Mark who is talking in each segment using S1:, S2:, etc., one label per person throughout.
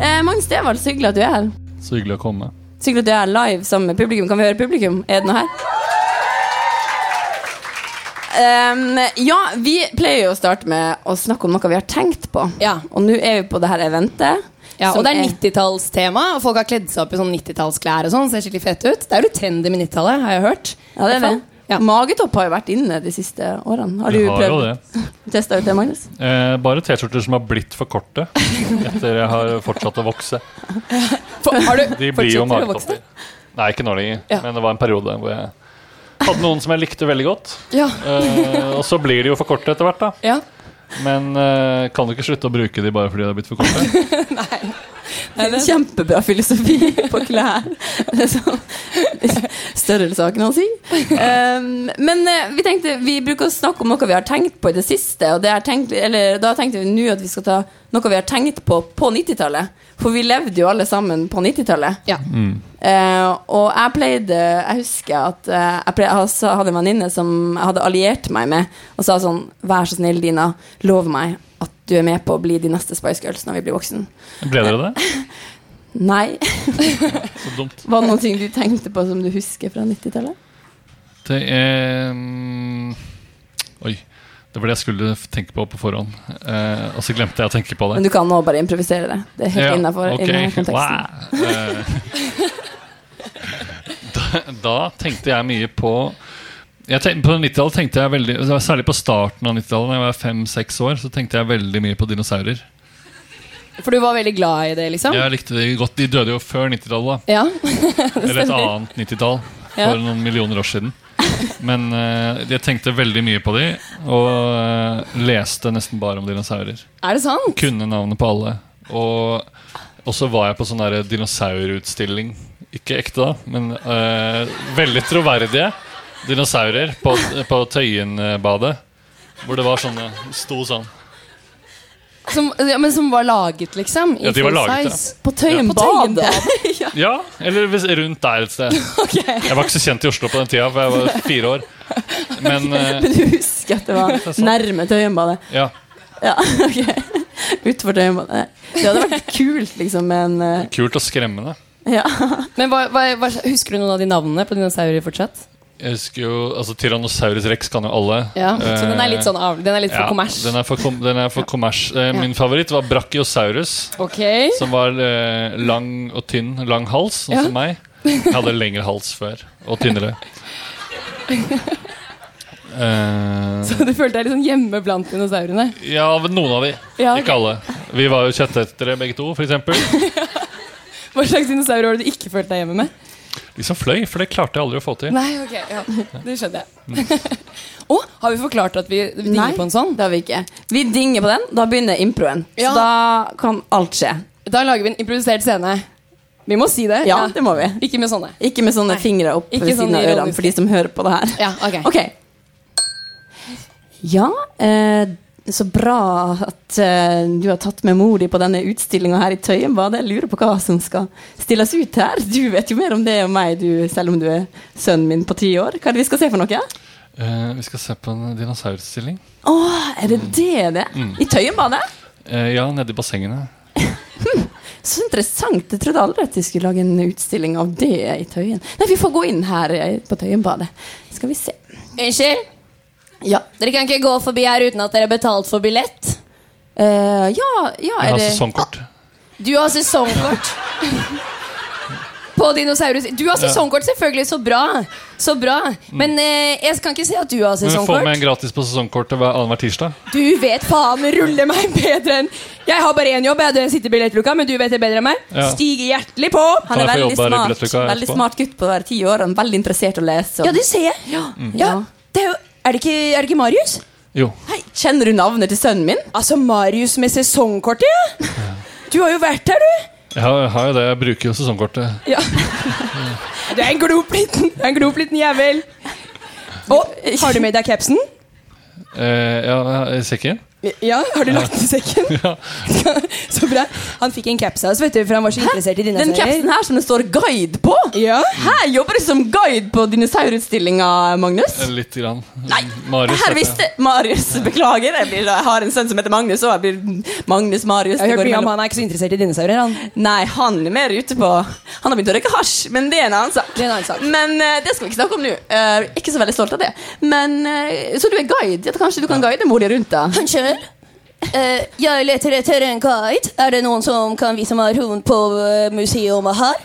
S1: Eh, Gammel, så hyggelig at du er her.
S2: Så hyggelig å komme.
S1: Så hyggelig at du er her live sammen med publikum. Kan vi høre publikum? Er det noe her? Ehm, ja, vi pleier jo å starte med å snakke om noe vi har tenkt på.
S3: Ja.
S1: Og nå er vi på det her eventet.
S3: Ja,
S1: som
S3: og det er 90-tallstema. og Folk har kledd seg opp i sånn 90-tallsklær og sånn. Ser skikkelig fett ut. Det er jo trendy med 90-tallet, har jeg hørt.
S1: Ja, det er det.
S3: Ja.
S1: Magetopp har jo vært inne de siste årene. Har du
S2: Jeg har jo
S1: prøvd
S2: det.
S1: testa ut det, Magnus?
S2: Eh, bare T-skjorter som har blitt for korte etter jeg har fortsatt å vokse.
S3: For, har du
S2: De blir jo
S3: fortsetter å vokse?
S2: magetopper. Nei, ikke nå lenger.
S3: Ja.
S2: Men det var en periode hvor jeg hadde noen som jeg likte veldig godt.
S3: Ja.
S2: Eh, og så blir de jo for korte etter hvert, da.
S3: ja.
S2: Men eh, kan du ikke slutte å bruke de bare fordi de har blitt for korte?
S3: Nei, det-
S1: Kjempebra filosofi på klær. Det er sånn størrelsesaken hans. Um, men eh, vi tenkte vi bruker å snakke om noe vi har tenkt på i det siste. Og det er tenkt, eller, da tenkte vi nå at vi skal ta noe vi har tenkt på på 90-tallet. For vi levde jo alle sammen på 90-tallet.
S3: Ja.
S2: Mm.
S1: Eh, og jeg pleide Jeg husker at eh, jeg, pleide, jeg sa- hadde en venninne som jeg hadde alliert meg med, og sa sånn Vær så snill, Dina, lov meg at du er med på å bli de neste Spice Girls når vi blir voksen.
S2: Ble dere det?
S1: Nei.
S2: Så dumt.
S1: Var det noen ting du tenkte på som du husker fra 90-tallet?
S2: Det er mm, Oi. Det var det jeg skulle f- tenke på på forhånd. Eh, og så glemte jeg å tenke på det.
S1: Men du kan nå bare improvisere det. Det er helt innenfor
S2: ok,
S1: innen konteksten.
S2: wow. Eh, da, da tenkte jeg mye på jeg tenkte, På 90-tallet tenkte jeg veldig det var Særlig på starten av 90-tallet, da jeg var fem-seks år, så tenkte jeg veldig mye på dinosaurer.
S3: For du var veldig glad i det, liksom?
S2: Jeg likte de godt. De døde jo før 90-tallet,
S3: Ja.
S2: da. Eller et annet 90-tall.
S3: Ja.
S2: For noen millioner år siden. Men eh, jeg tenkte veldig mye på de, og eh, leste nesten bare om dinosaurer.
S3: Er det sant?
S2: kunne navnet på alle. Og, og så var jeg på sånn der dinosaurutstilling. Ikke ekte, da, men eh, veldig troverdige dinosaurer på, på Tøyenbadet. Hvor det var sånne Sto sånn.
S3: Som, ja, men som var laget, liksom? i
S2: Ja, de var
S3: full
S2: laget,
S3: size.
S1: På Tøyen
S3: På Tøyen
S1: bad.
S2: Ja, eller hvis, rundt der et sted. Jeg var ikke så kjent i Oslo på den tida, for jeg var fire år. Men eh,
S1: Men du husker at det
S2: er
S1: var
S2: sant.
S1: nærme Tøyenbadet?
S2: ja,
S1: Ja, ok. Utenfor Tøyenbadet. Det hadde vært kult, liksom, med en eh,
S2: kult og skremmende.
S1: Ja.
S3: Men hva, hva, hva, Husker du noen av de navnene på dinosaurer fortsatt?
S2: Jeg husker jo, altså Tyrannosaurus rex kan jo alle.
S3: Ja, Så den er
S2: Eh,
S3: litt sånn av, Den er litt for
S2: ja,
S3: kommers?
S2: Den er for, kom, den er for kommers. Eh, Min favoritt var brachiosaurus.
S3: Ok.
S2: Som var eh, lang og tynn. Lang hals, sånn
S3: Ja.
S2: som meg. Jeg hadde lengre hals før, og tynnere. Eh,
S3: Du følte deg litt sånn hjemme blant dinosaurene?
S2: ja, men noen av de.
S3: Ja, ok.
S2: Ikke alle. Vi var jo kjøttetere begge to, f.eks.
S3: Hva slags dinosaurer var det du ikke følte deg hjemme med?
S2: De som fløy, for det klarte jeg aldri å få til.
S3: Nei, ok, ja. Det skjønner jeg. Å, har vi forklart at vi vi digger på en sånn?
S1: det har vi ikke. Vi dinger på den, da begynner improen.
S3: Ja.
S1: Så da kan alt skje.
S3: Da lager vi en improvisert scene. Vi må si det.
S1: Ja, det må vi.
S3: Ikke med sånne.
S1: Ikke med sånne
S3: Nei.
S1: fingre opp
S3: Ikke
S1: ved siden
S3: sånn
S1: av
S3: ironisk.
S1: ørene for de som hører på det her.
S3: Ja, ok.
S1: Ok. Ja, eh, så bra at eh, du har tatt med mor di på denne utstillinga her i Tøyenbadet. Jeg lurer på hva som skal stilles ut her. Du vet jo mer om det enn meg, du, selv om du er sønnen min på ti år. Hva er det vi skal se for noe?
S2: Eh, vi skal se på en dinosaurutstilling.
S1: Å, er det det det er?
S2: Mm.
S1: I Tøyenbadet?
S2: Eh, ja, nede i bassengene.
S1: Så interessant. Jeg trodde aldri at de skulle lage en utstilling av det i Tøyen. Nei, vi får gå inn her eh, på Tøyenbadet. Skal vi se.
S3: Unnskyld?
S1: Ja.
S3: Dere kan ikke gå forbi her uten at dere har betalt for billett?
S1: Eh, ja, ja,
S2: Jeg
S1: er
S2: har
S1: det
S2: sesongkort.
S3: Du har sesongkort. På Dinosaurus. Du har sesongkort, selvfølgelig. Så bra. Så bra. Men eh, jeg kan ikke se at du har
S2: Mm. Men vi får med
S3: sesongkort.
S2: en gratis på sesongkortet hver annenhver tirsdag.
S3: Du vet faen rulle meg bedre enn Jeg har bare én jobb, jeg det sitter i billettluka, men du vet det bedre enn meg.
S2: Ja.
S3: Stig hjertelig på!
S1: Han er
S2: Kan jeg få
S1: veldig
S2: jobbe her i
S1: smart,
S2: billettluka
S1: veldig
S2: etterpå?
S1: smart gutt på å være ti år. Han er veldig interessert i å lese.
S3: Ja,
S1: Og...
S3: det ser jeg. Mm. Ja,
S1: Ja.
S3: det er, jo, er, det ikke, er det ikke Marius?
S2: Jo.
S1: Hei, kjenner du navnet til sønnen min?
S3: Altså, Marius med sesongkortet, ja! Du har jo vært her, du!
S2: Jeg har, jeg har jo det. Jeg bruker jo sesongkortet.
S3: Ja. Du er en glop liten, du er en glop liten jævel. Og har du med deg capsen?
S2: Eh, ja, jeg ser ikke inn.
S3: Ja, har du lagt den i sekken?
S2: Ja.
S3: Så bra. Han fikk en caps av oss, vet du, for han var så interessert i
S1: Den
S3: dinosaurer.
S1: capsen her som det står 'guide' på!
S3: Ja.
S1: Her jobber du som guide på dinosaurutstillinga, Magnus.
S2: Litt grann.
S1: Nei,
S2: Marius,
S1: her
S2: vet jeg.
S1: visste Marius, beklager. Jeg, blir, jeg har en sønn som heter Magnus, og jeg blir Magnus Marius.
S3: Jeg har
S1: det
S3: hørt
S1: går
S3: mye om
S1: imellom.
S3: han er ikke så interessert i dinosaurer, han.
S1: Nei, han er mer ute på Han har begynt å røyke hasj, men det er en annen sak.
S3: Det er en annen sak.
S1: Men eh, det skal vi ikke snakke om nå. Eh, ikke så veldig stolt av det. Men, eh, så du er guide? Ja, kanskje du kan guide mor di rundt, da?
S3: Unnskyld? jeg leter etter en guide. Er det noen som kan vise meg rundt på eh, museet her?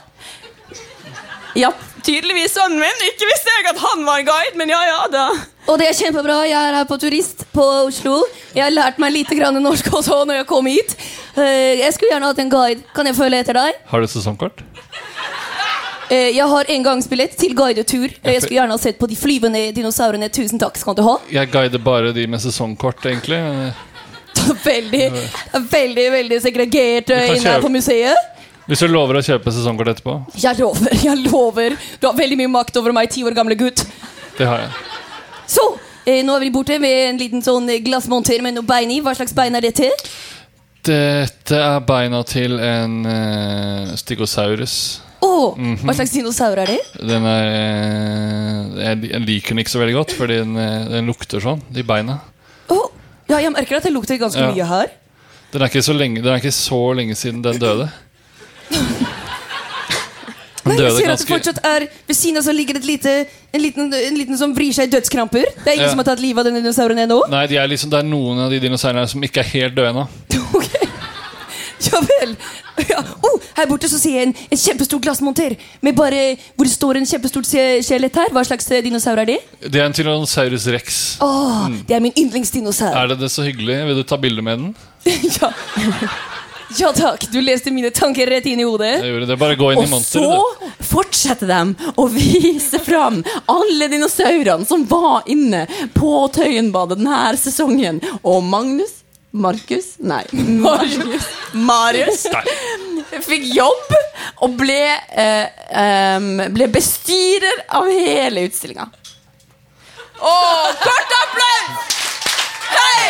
S1: Ja, tydeligvis sønnen min. Ikke visste jeg at han var en guide, men ja ja, da.
S3: Og det er kjempebra. Jeg er her på turist på Oslo. Jeg har lært meg litt grann norsk også når jeg kom hit. Eh, Jeg skulle gjerne hatt en guide. Kan jeg følge etter deg?
S2: Har du sesongkort?
S3: Eh, Jeg har engangsbillett til guidetur. Eh, Jeg skulle gjerne ha sett på de flyvende dinosaurene. Tusen takk skal du ha.
S2: Jeg guider bare de med sesongkort, egentlig.
S3: Veldig, veldig veldig segregert
S2: Du
S3: eh,
S2: kan
S3: inne her
S2: kjøpe-
S3: på museet.
S2: Hvis du lover å kjøpe sesongkort etterpå.
S3: Jeg lover, jeg lover. Du har veldig mye makt over meg, ti år gamle gutt.
S2: Det har jeg.
S3: Så, eh, nå er vi borte med en liten sånn eh, glassmonter med noe bein i. Hva slags bein er det til?
S2: Dette er beina til en eh, stygosaurus.
S3: Åh,
S2: Mhm.
S3: Hva slags dinosaur er det?
S2: Den er eh, jeg, jeg liker den ikke så veldig godt, fordi den, eh, den lukter sånn, de beina.
S3: Åh, ja, jeg merker at det lukter ganske
S2: Ja.
S3: mye her.
S2: Den er ikke så lenge, den er ikke så lenge siden den døde. Den
S3: Men jeg
S2: døde
S3: ser at det
S2: ganske
S3: fortsatt er Ved siden av så ligger det et lite, en, liten, en liten som vrir seg i dødskramper. Det er
S2: Ja.
S3: ingen som har tatt livet av den dinosauren ennå.
S2: Nei, de er liksom, det er noen av de dinosaurene her som ikke er helt døde ennå.
S3: Ok, ja vel ja. Oh, Her borte så ser jeg en, en kjempestor glassmonter Med bare, hvor det står en kjempestort skje- skjelett her Hva slags eh, dinosaur er det?
S2: Det er en tyrannosaurus rex.
S3: Åh, det er min yndlingsdinosaur
S2: Er det det så hyggelig? Vil du ta bilde med den?
S3: ja. ja takk, du leste mine tanker rett inn i hodet
S2: Jeg gjorde det. Bare gå inn
S1: Og
S2: i monster.
S1: så
S2: du.
S1: fortsetter de å vise fram alle dinosaurene som var inne på Tøyenbadet denne sesongen. Og Magnus Markus Nei, Marius. Marius fikk jobb og ble, eh, em, ble bestyrer av hele utstillinga. Og kort applaus! Hei!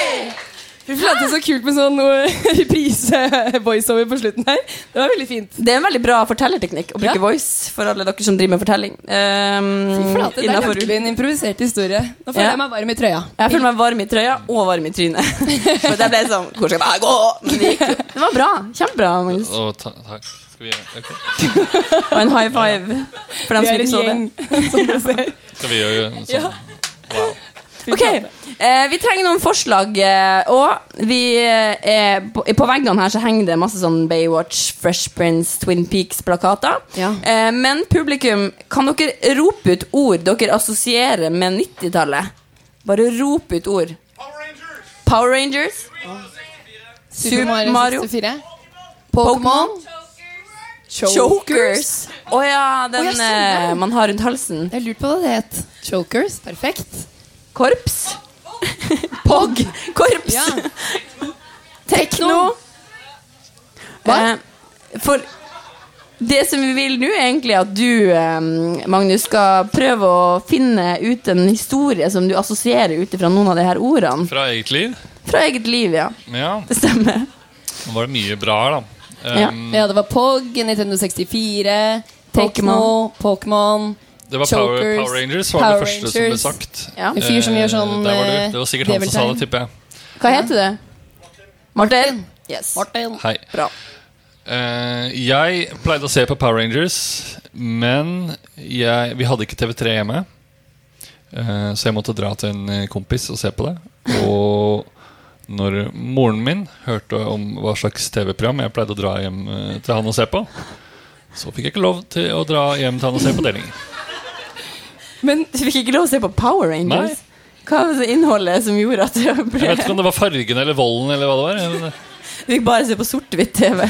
S3: Fy flate, det er så kult med sånn reprise-voiceover på slutten her Det var veldig fint
S1: Det er en veldig bra fortellerteknikk å bruke
S3: Ja.
S1: voice for alle dere som driver med fortelling. Um,
S3: Flate, det er
S1: innenfor-
S3: virkelig en improvisert historie Nå føler
S1: Ja.
S3: jeg meg varm i trøya
S1: Jeg føler meg varm i trøya og varm i trynet. For det ble sånn Hvor skal jeg gå? Men det gikk jo. Det var bra. Kjempebra, Magnus.
S2: Å, ta, takk. Skal vi gjøre ok.
S1: Og en high five for dem
S3: Vi
S1: som
S3: er
S1: ikke
S3: en
S1: så det.
S3: gjeng som du ser
S2: Skal vi gjøre en sånn?
S1: Ok, eh, Vi trenger noen forslag, eh, og vi eh, er på, på veggene her så henger det masse sånn Baywatch, Fresh Prince, Twin Peaks-plakater.
S3: Ja.
S1: Eh, men publikum, kan dere rope ut ord dere assosierer med 90-tallet? Bare rop ut ord. Power Rangers. Super Mario
S3: 64
S1: Pokémon. Chokers. Å ja, den
S3: Å, jeg ser den.
S1: eh, man har rundt halsen.
S3: Jeg lurte på hva det het. Chokers. Perfekt.
S1: Korps. Pog. Korps.
S3: Ja.
S1: Tekno.
S3: Hva?
S1: Eh, for det som vi vil nå, er egentlig at du, eh, Magnus, skal prøve å finne ut en historie som du assosierer ut ifra noen av de her ordene.
S2: Fra eget liv?
S1: Fra eget liv, ja.
S2: Ja.
S1: Det stemmer.
S2: Nå var det mye bra her,
S1: Ja.
S2: da. Um,
S3: Mm. Ja, det var Pog, Nintendo 64, Tekno,
S1: Pokémon.
S3: Pokémon
S2: Det var Power,
S3: Chokers,
S2: Power Rangers var
S3: Power
S2: det første som ble
S3: Rangers.
S2: sagt.
S1: Ja.
S3: En fyr som gjør sånn,
S2: Eh, der var det, det var sikkert han som sa
S3: djeveltegn.
S2: det, tipper jeg.
S1: Hva heter det? Martin? Yes.
S3: Martin.
S2: Hei.
S1: Bra.
S2: Eh, jeg pleide å se på Power Rangers, men jeg, vi hadde ikke TV3 hjemme. Eh, så jeg måtte dra til en eh, kompis og se på det. Og når moren min hørte om hva slags TV-program jeg pleide å dra hjem eh, til han og se på, så fikk jeg ikke lov til å dra hjem til han og se på det lenger.
S1: Men du fikk ikke lov å se på Power Rangers? Hva var det innholdet som gjorde at det
S2: Jeg vet ikke
S1: ble
S2: om det var fargen eller volden eller hva det var. men-
S1: Du fikk bare se på sort-hvitt TV.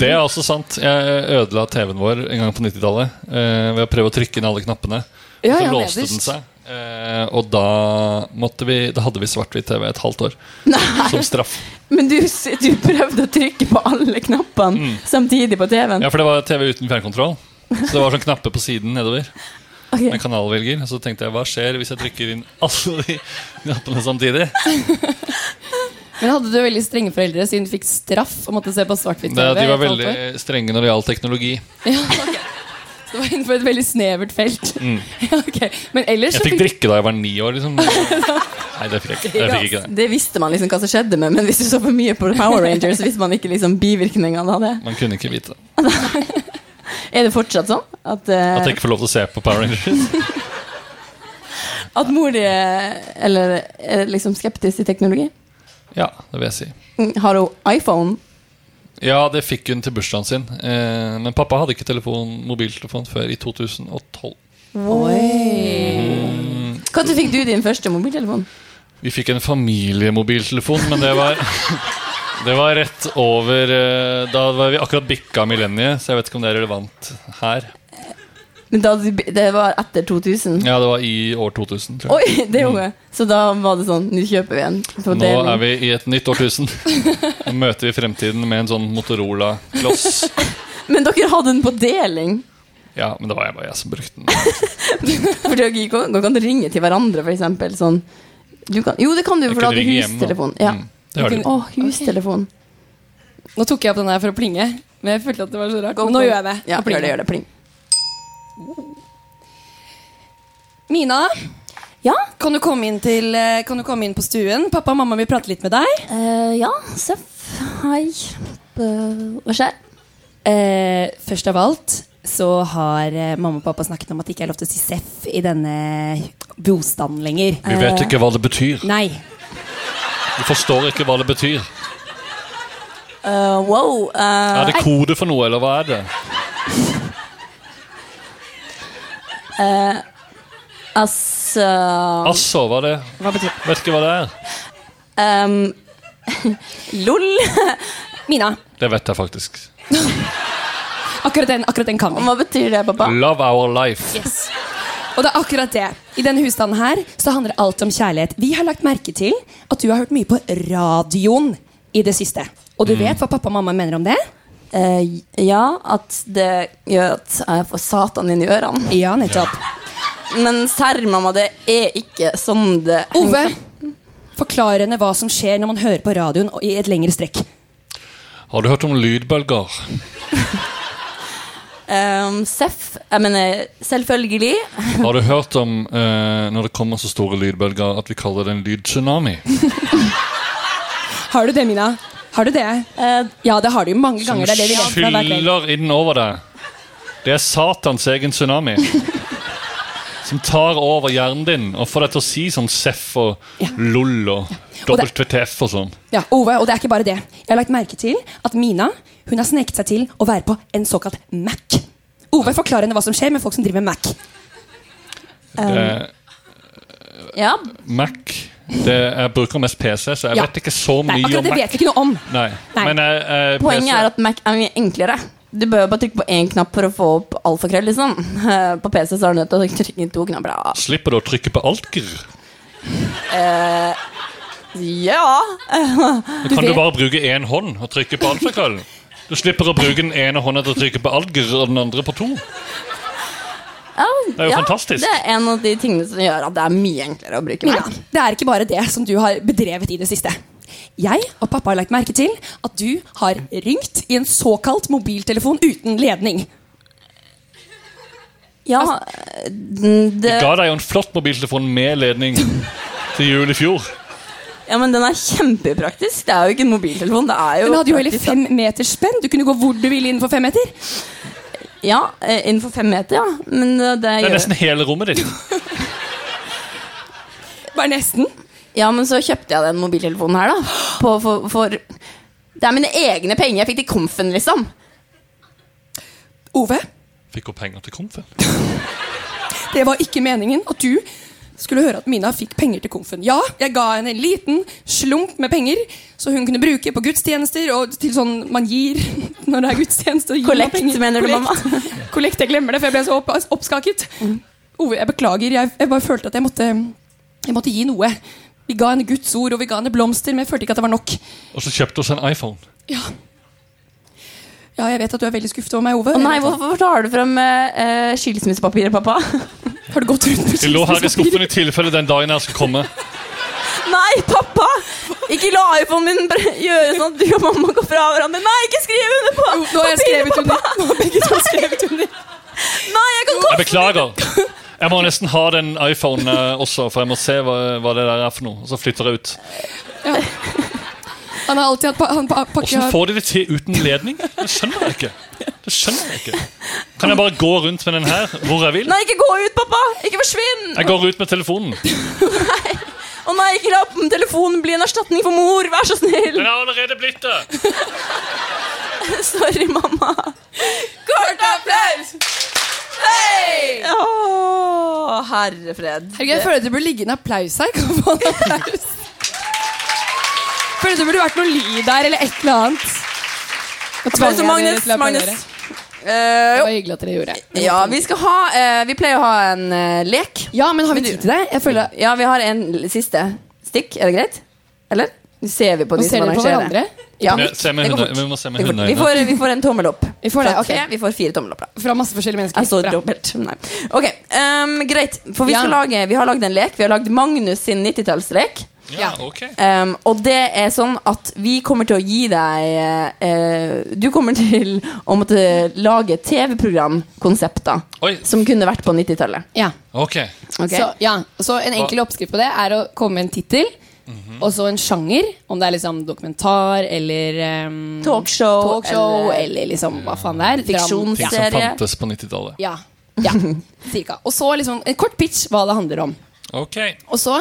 S2: Det er også sant. Jeg ødela TV-en vår en gang på 90-tallet eh, ved å prøve å trykke inn alle knappene.
S3: Ja,
S2: så
S3: ja,
S2: låste
S3: nederst.
S2: den seg. Eh, og da, måtte vi, da hadde vi svart-hvitt-TV et halvt år som straff.
S1: Men du, s- du prøvde å trykke på alle knappene
S2: Mm.
S1: samtidig på TV-en.
S2: Ja, for det var TV uten fjernkontroll. Så det var sånn knapper på siden nedover.
S1: Ok.
S2: med kanalvelger. Og så tenkte jeg hva skjer hvis jeg trykker inn alle de knappene samtidig?
S3: Men hadde du veldig strenge foreldre siden du fikk straff og måtte se på svart-hvitt?
S2: Det,
S3: TV
S2: de
S3: i
S2: var
S3: et halvt
S2: veldig
S3: år?
S2: strenge når det gjaldt teknologi.
S3: Ja, ok. Så det var innenfor et veldig snevert felt. Ja, ok. Men
S2: Mm. Jeg
S3: ellers så
S2: fikk
S3: fikk
S2: drikke da jeg var ni år, liksom. Nei, det fikk jeg ikke. Jeg fikk ikke det.
S1: Det visste man liksom hva som skjedde med, men hvis du så for mye på Power Rangers, så visste man ikke liksom bivirkningene av det.
S2: Man kunne ikke vite
S1: Er det fortsatt sånn at, eh,
S2: at jeg ikke får lov til å se på Power Rangers.
S1: at mor di eh, eller, er liksom skeptisk til teknologi?
S2: Ja, det vil jeg si.
S1: Mm, Har hun iPhone?
S2: Ja, det fikk hun til bursdagen sin. Eh, men pappa hadde ikke telefon, mobiltelefon før i 2012.
S1: Oi. Når fikk du din første mobiltelefon?
S2: Vi fikk en familiemobiltelefon, men det var Det var rett over eh, Da var vi akkurat bikka millenniet, så jeg vet ikke om det er relevant her.
S1: Men da, du- det var etter 2000?
S2: Ja, det var i år 2000, tror jeg.
S1: Oi, det gjorde jeg. Så da var det sånn, nå kjøper vi en. på
S2: Nå
S1: deling.
S2: er vi i et nytt årtusen. Nå møter vi fremtiden med en sånn Motorola-kloss.
S1: Men dere hadde den på deling?
S2: Ja, men det var jeg bare jeg som brukte den.
S1: For dere gikk- dere kan ringe til hverandre, for eksempel. Sånn. Du kan, jo, det kan du,
S2: Jeg
S1: for da
S2: kunne
S1: hadde du
S2: ringe hjem. da.
S1: hustelefon. Ja.
S2: Mm, det har de.
S1: Å, hustelefon.
S3: Nå tok jeg opp den her for å plinge, men jeg følte at det var så rart. Men nå gjør jeg det.
S1: Ja,
S3: Nå plinger
S1: gjør det, gjør det. Pling.
S3: Mina,
S4: Ja,
S3: kan du, komme inn til, eh, kan du komme inn på stuen? Pappa og mamma vil prate litt med deg.
S4: eh, ja, Seff. Hei. Eh, hva skjer?
S3: Eh, først av alt så har eh, mamma og pappa snakket om at det ikke er lov til å si Seff i denne bostaden lenger.
S2: Vi
S1: Eh.
S2: vet ikke hva det betyr.
S3: Nei.
S2: Vi forstår ikke hva det betyr.
S1: Eh, wow. eh,
S2: Er det kode for noe, eller hva er det?
S1: altså
S2: Asså, hva er det?
S3: Hva betyr det?
S2: Vet ikke hva det er.
S1: ehm, Lol.
S3: Mina,
S2: Det vet jeg faktisk.
S3: akkurat den, akkurat den kan vi.
S1: Hva betyr det, pappa?
S2: Love our life.
S3: Yes. Og det er akkurat det. I denne husstanden her så handler alt om kjærlighet. Vi har lagt merke til at du har hørt mye på radioen i det siste. Og du vet hva pappa og mamma mener om det?
S1: Mm. Eh, ja, at det gjør at jeg får Satan inn i ørene.
S3: Ja, nettopp.
S1: Men serr, mamma, det er ikke sånn det
S3: Ove, forklar henne hva som skjer når man hører på radioen og i et lengre strekk.
S2: Har du hørt om lydbølger?
S1: Ehm, Seff, jeg mener selvfølgelig.
S2: Har du hørt om eh, når det kommer så store lydbølger at vi kaller det en lydtsunami?
S3: Har du det, Mina? Har du det?
S1: Eh,
S3: Ja, det har du jo mange ganger. Det er det vi vet fra hver kveld.
S2: Skyller inn over deg. Det er Satans egen tsunami. Som tar over hjernen din og får deg til å si sånn seff og
S3: Ja.
S2: lol og
S3: Og det-
S2: WTF og sånn.
S3: Ja, Ove, og det er ikke bare det. Jeg har lagt merke til at Mina hun har sneket seg til å være på en såkalt Mac. Ove, forklar henne hva som skjer med folk som driver med Mac.
S2: Det-
S1: ja,
S2: Mac det, Jeg bruker mest PC, så jeg
S3: Um. Ja.
S2: vet ikke så
S3: Nei,
S2: mye
S3: akkurat
S2: om
S3: det
S2: Mac.
S3: vet vi ikke noe om.
S2: Nei.
S3: Nei.
S2: Men eh, jeg, jeg,
S1: Poenget er at Mac er mye enklere. Du bør bare trykke på én knapp for å få opp alfakrøll. Liksom. Eh, På PC så er du nødt til å trykke inn to knapper. da.
S2: Slipper du å trykke på altger?
S1: Ja!
S2: Da kan du bare bruke én hånd og trykke på alfakrøllen. Du slipper å bruke den ene hånda til å trykke på alger og den andre på to.
S1: ja
S2: er jo fantastisk.
S1: Det er en av de tingene som gjør at det er mye enklere å bruke
S3: Mina,
S1: Mac.
S3: det er ikke bare det som du har bedrevet i det siste. Jeg og pappa har lagt merke til at du har ringt i en såkalt mobiltelefon uten ledning.
S1: Ja, eh, det,
S2: Ga deg jo en flott mobiltelefon med ledning til jul i fjor.
S1: ja, men den er kjempepraktisk. Det er jo ikke en mobiltelefon. Det er jo
S3: Den hadde jo hele
S1: praktisk,
S3: fem meter spenn. Du kunne gå hvor du ville innenfor fem meter.
S1: da. Ja, eh, innenfor fem meter, ja. Men eh, det
S2: Det er
S1: gjør
S2: nesten hele rommet ditt.
S3: Bare nesten.
S1: Ja, men så kjøpte jeg den mobiltelefonen her, da. På, for, for Det er mine egne penger. Jeg fikk det i komfen, liksom.
S3: Ove,
S2: Fikk hun penger til komfen?
S3: det var ikke meningen at du skulle høre at Mina fikk penger til komfen. Ja, jeg ga henne en liten slump med penger, så hun kunne bruke på gudstjenester og til sånn man gir når det er gudstjeneste. og gir man
S1: Kollekt,
S3: penger.
S1: mener du, mamma? Mm.
S3: Kollekt, jeg glemmer det, for jeg ble så opp, oppskaket. Ove, jeg beklager. Jeg, jeg bare følte at jeg måtte, jeg måtte gi noe. Vi ga henne Guds ord, og vi ga henne blomster, men jeg følte ikke at det var nok.
S2: Og så kjøpte hun seg en iPhone.
S3: Ja. ja, jeg vet at du er veldig skuffet over meg, Ove.
S1: Å nei,
S3: Jeg vet at-
S1: hvorfor tar du frem eh, eh, skilsmissepapiret, pappa?
S3: Har du gått rundt med
S2: De lå her i
S3: kisten?
S2: skuffen i tilfelle den dagen jeg skulle komme.
S1: Nei, pappa! Ikke la iPhonen min br- gjøre sånn at du og mamma går fra hverandre. Nei, ikke skriv under på
S3: Jo, nå har jeg skrevet
S1: pappa!
S3: under. Nå har begge to skrevet under.
S1: Nei, jeg kan
S2: Jeg
S1: koste
S2: beklager. Jeg må nesten ha den iPhonen eh, også, for jeg må se hva, hva det der er for noe. Og så flytter jeg ut.
S3: Han har alltid hatt pa han pa pakke
S2: Hvordan får de det til uten ledning? Det skjønner jeg ikke. Det skjønner jeg ikke. Kan jeg bare gå rundt med den her hvor jeg vil?
S1: Nei, ikke gå ut, pappa! Ikke forsvinn!
S2: Jeg går ut med telefonen.
S1: Å nei, ikke la telefonen bli en erstatning for mor! Vær så snill!
S2: Den er allerede blitt det!
S1: Sorry, mamma. Kort applaus! Hei! Å, herre fred.
S3: Herregud, Jeg føler at det burde ligge en applaus her. Kan man få en applaus? Føler at det burde vært noe lyd der, eller et eller annet. Nå tvang
S1: Applaus til
S3: jeg dere
S1: Magnus.
S3: til å applaudere.
S1: Magnus. Eh,
S3: Det
S1: jo.
S3: var hyggelig at dere gjorde det.
S1: Ja, vi skal ha eh, Vi pleier å ha en eh, lek.
S3: Ja, men har vi tid til det? Jeg føler
S1: Ja, vi har en l- siste stikk. Er det greit? Eller? Nå ser vi på
S3: Nå
S1: de som
S3: ser dere på
S1: arrangerer.
S3: hverandre.
S1: Ja.
S2: Vi, ser med
S1: Det går
S2: hunde,
S1: fort.
S2: vi må se med
S1: Det går fort. Vi
S2: hundeøyne.
S1: får, vi får en tommel opp.
S3: Vi får det,
S1: Fra
S3: ok.
S1: tre, Vi får fire tommel opp, da.
S3: Fra masse forskjellige mennesker.
S1: Jeg så
S3: Bra.
S1: dobbelt. Nei. Ok, ehm, Greit. For vi, skal
S3: Ja.
S1: lage, vi har lagd en lek. Vi har lagd Magnus sin 90-tallslek.
S2: Ja, ok.
S1: Ehm, og det er sånn at vi kommer til å gi deg eh, eh, Du kommer til å måtte lage TV-programkonsepter
S2: Oi.
S1: som kunne vært på 90-tallet.
S3: Ja.
S2: Ok.
S1: Ok?
S3: Så, ja. Så en enkel oppskrift på det er å komme med en tittel, og så en sjanger. Om det er liksom dokumentar eller ehm,
S1: Talkshow,
S3: talkshow
S1: eller-
S3: eller, liksom hva faen det er.
S1: Fiksjons-
S2: Ting
S3: Dram-
S2: som
S1: Serie.
S2: fantes på 90-tallet.
S3: Ja. ja. Cirka. Og så liksom en kort pitch hva det handler om.
S2: Ok.
S3: Og så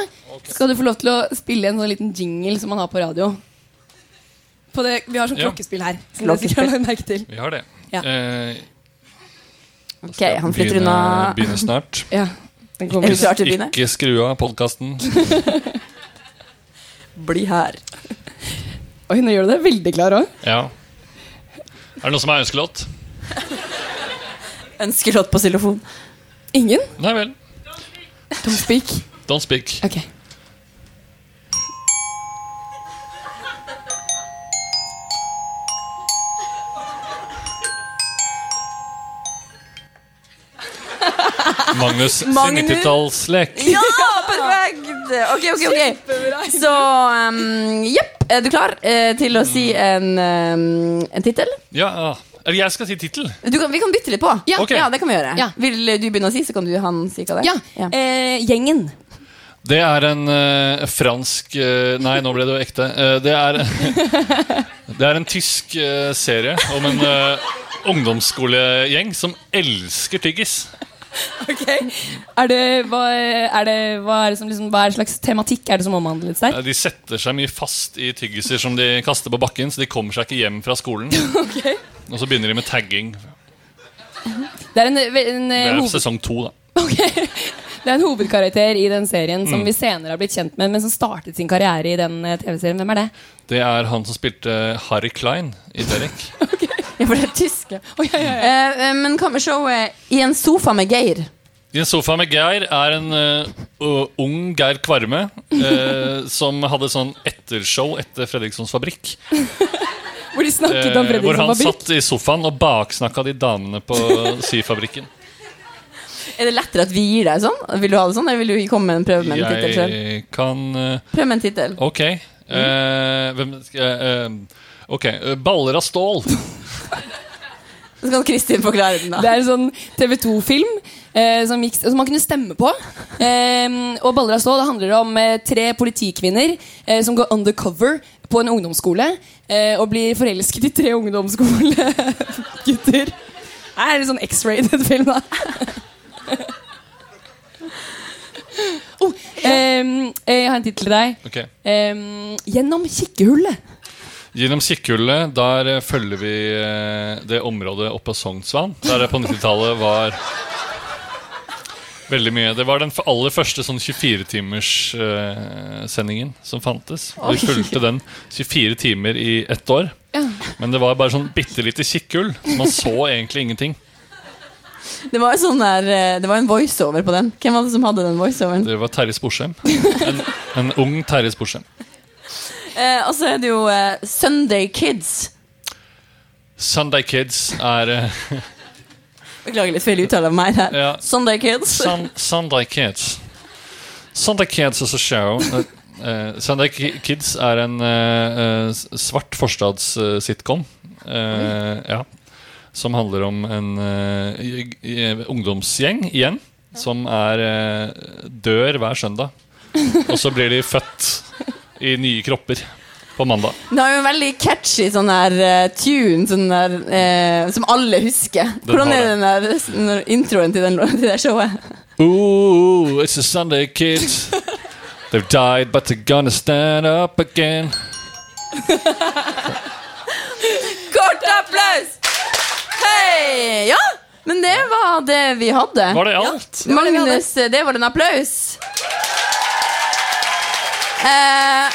S3: skal du få lov til å spille en sånn liten jingle som man har på radio. På det, vi har sånn
S2: Ja.
S3: klokkespill her. Som dere sikkert har lagt merke til.
S2: Vi har det.
S3: Ja.
S2: Eh, da
S1: Ok,
S2: skal jeg
S1: Eh, han flytter
S2: begynne-
S1: unna.
S2: Begynne snart.
S3: Ja, den
S1: Er
S3: kommer.
S1: du klar til å begynne?
S2: Ikke skru av podkasten.
S1: Bli her.
S3: Oi, nå gjør du deg veldig klar òg.
S2: Ja. Er det noen som har ønskelåt?
S1: Ønskelåt på xylofon.
S3: Ingen?
S2: Nei vel.
S3: Tom Speak.
S2: Don't speak.
S3: Ok.
S2: Magnus sin
S1: Magnus.
S2: 90-tallslek.
S1: Ja, perfekt! Ok, ok, ok. Så ehm, jepp. Er du klar eh, til å si en, um, en tittel?
S2: Ja, ja. Eller jeg skal si tittel.
S1: Du kan- Vi kan bytte litt på.
S3: Ja.
S2: Ok.
S1: det kan vi gjøre.
S3: Ja.
S1: Vil du begynne å si, så kan du han si hva det
S3: Ja.
S1: er?
S3: Eh, gjengen.
S2: Det er en eh, fransk eh, Nei, nå ble det jo ekte. Eh, det, er, det er en tysk eh, serie om en eh, ungdomsskolegjeng som elsker tyggis.
S3: Ok. Er det, hva, er det, hva, er det som, liksom, hva er det slags tematikk er det som omhandles der?
S2: Ja, Eh, De setter seg mye fast i tyggiser som de kaster på bakken, så de kommer seg ikke hjem fra skolen. Og så begynner de med tagging.
S3: Det er en, en,
S2: Det
S3: eh,
S2: er
S3: hoved,
S2: sesong to, da.
S3: ok. det er en hovedkarakter i den serien som vi senere har blitt kjent med, men som startet sin karriere i den eh, TV-serien. Hvem er det?
S2: Det er han som spilte Harry Klein i Derek.
S1: Ja, for det er tysk. ja.
S3: Å, ja, ja, ja.
S1: Eh, eh, men hva med showet I en sofa med Geir?
S2: I en sofa med Geir er en eh, u- ung Geir Kvarme eh, som hadde sånn ettershow etter Fredrikssons Fabrikk.
S3: Hvor de
S2: eh, hvor
S3: snakket om Fredriksson
S2: han
S3: Fabrikk.
S2: satt i sofaen og baksnakka de damene på syfabrikken.
S1: Er det lettere at vi gir deg sånn? Vil du ha det sånn, eller vil du komme med en prøve med en tittel selv?
S2: Jeg kan eh,
S1: Prøv med en tittel.
S2: Ok. eh, hvem skal jeg eh, Ok. eh, Baller av stål.
S1: Så kan Kristin forklare den,
S3: Det
S1: da.
S3: er en sånn TV 2-film eh, som, gikk- som man kunne stemme på. Eh, og Baller av stål det handler om eh, tre politikvinner eh, som går undercover på en ungdomsskole eh, og blir forelsket i tre ungdomsskolegutter. Det er en sånn X-rated film, da. oh, eh, jeg har en tittel til deg.
S2: Ok.
S3: Eh, gjennom kikkehullet.
S2: Gjennom Kikkhullet, der eh, følger vi eh, det området oppe av Sognsvann. Der det på 90-tallet var veldig mye. Det var den f- aller første sånn 24-timerssendingen som fantes. Og Vi fulgte den 24 timer i ett år. Men det var bare sånn bitte lite kikkhull. så Man så egentlig ingenting.
S1: Det var, sånn der, eh, det var en voiceover på den. Hvem var det som hadde den voiceoveren?
S2: Det var Terje Sporsem. En, en ung Terje Sporsem.
S1: Eh, og så er det jo eh, Sunday Kids.
S2: Sunday Kids er eh,
S1: Beklager litt feil uttale av meg der.
S2: Ja.
S1: Sunday Kids.
S2: Sun, Sunday Kids. Sunday Kids is a show. Eh, eh, Sunday Ki- Kids er en eh, eh, s- svart forstads-sitcom. eh, ja. Som handler om en eh, j- j- ungdomsgjeng igjen. Som er eh, dør hver søndag. Og så blir de født i nye kropper på mandag.
S1: Den har jo en veldig catchy sånn der eh, tune sånn der, eh, som alle husker. Hvordan
S2: har
S1: er den der,
S2: det.
S1: den der introen til, den, lå- til det showet?
S2: Ooh, it's a Sunday, kids. They've died, but they're gonna stand up again.
S1: Kort applaus! Hei! Ja, men det var det vi hadde.
S2: Var det alt?
S1: Magnus, det var en applaus. Eh,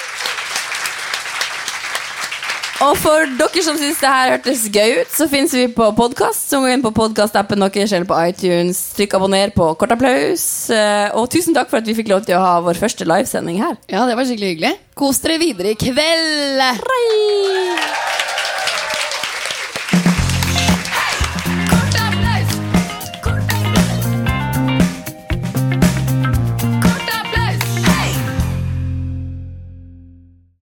S1: og for dere som syns det her hørtes gøy ut, så fins vi på podkast. Så gå inn på podkastappen deres eller på iTunes. Trykk abonner på Kort applaus. Eh, og tusen takk for at vi fikk lov til å ha vår første livesending her.
S5: Ja, det var skikkelig hyggelig. Kos dere videre i kveld!
S1: Hei!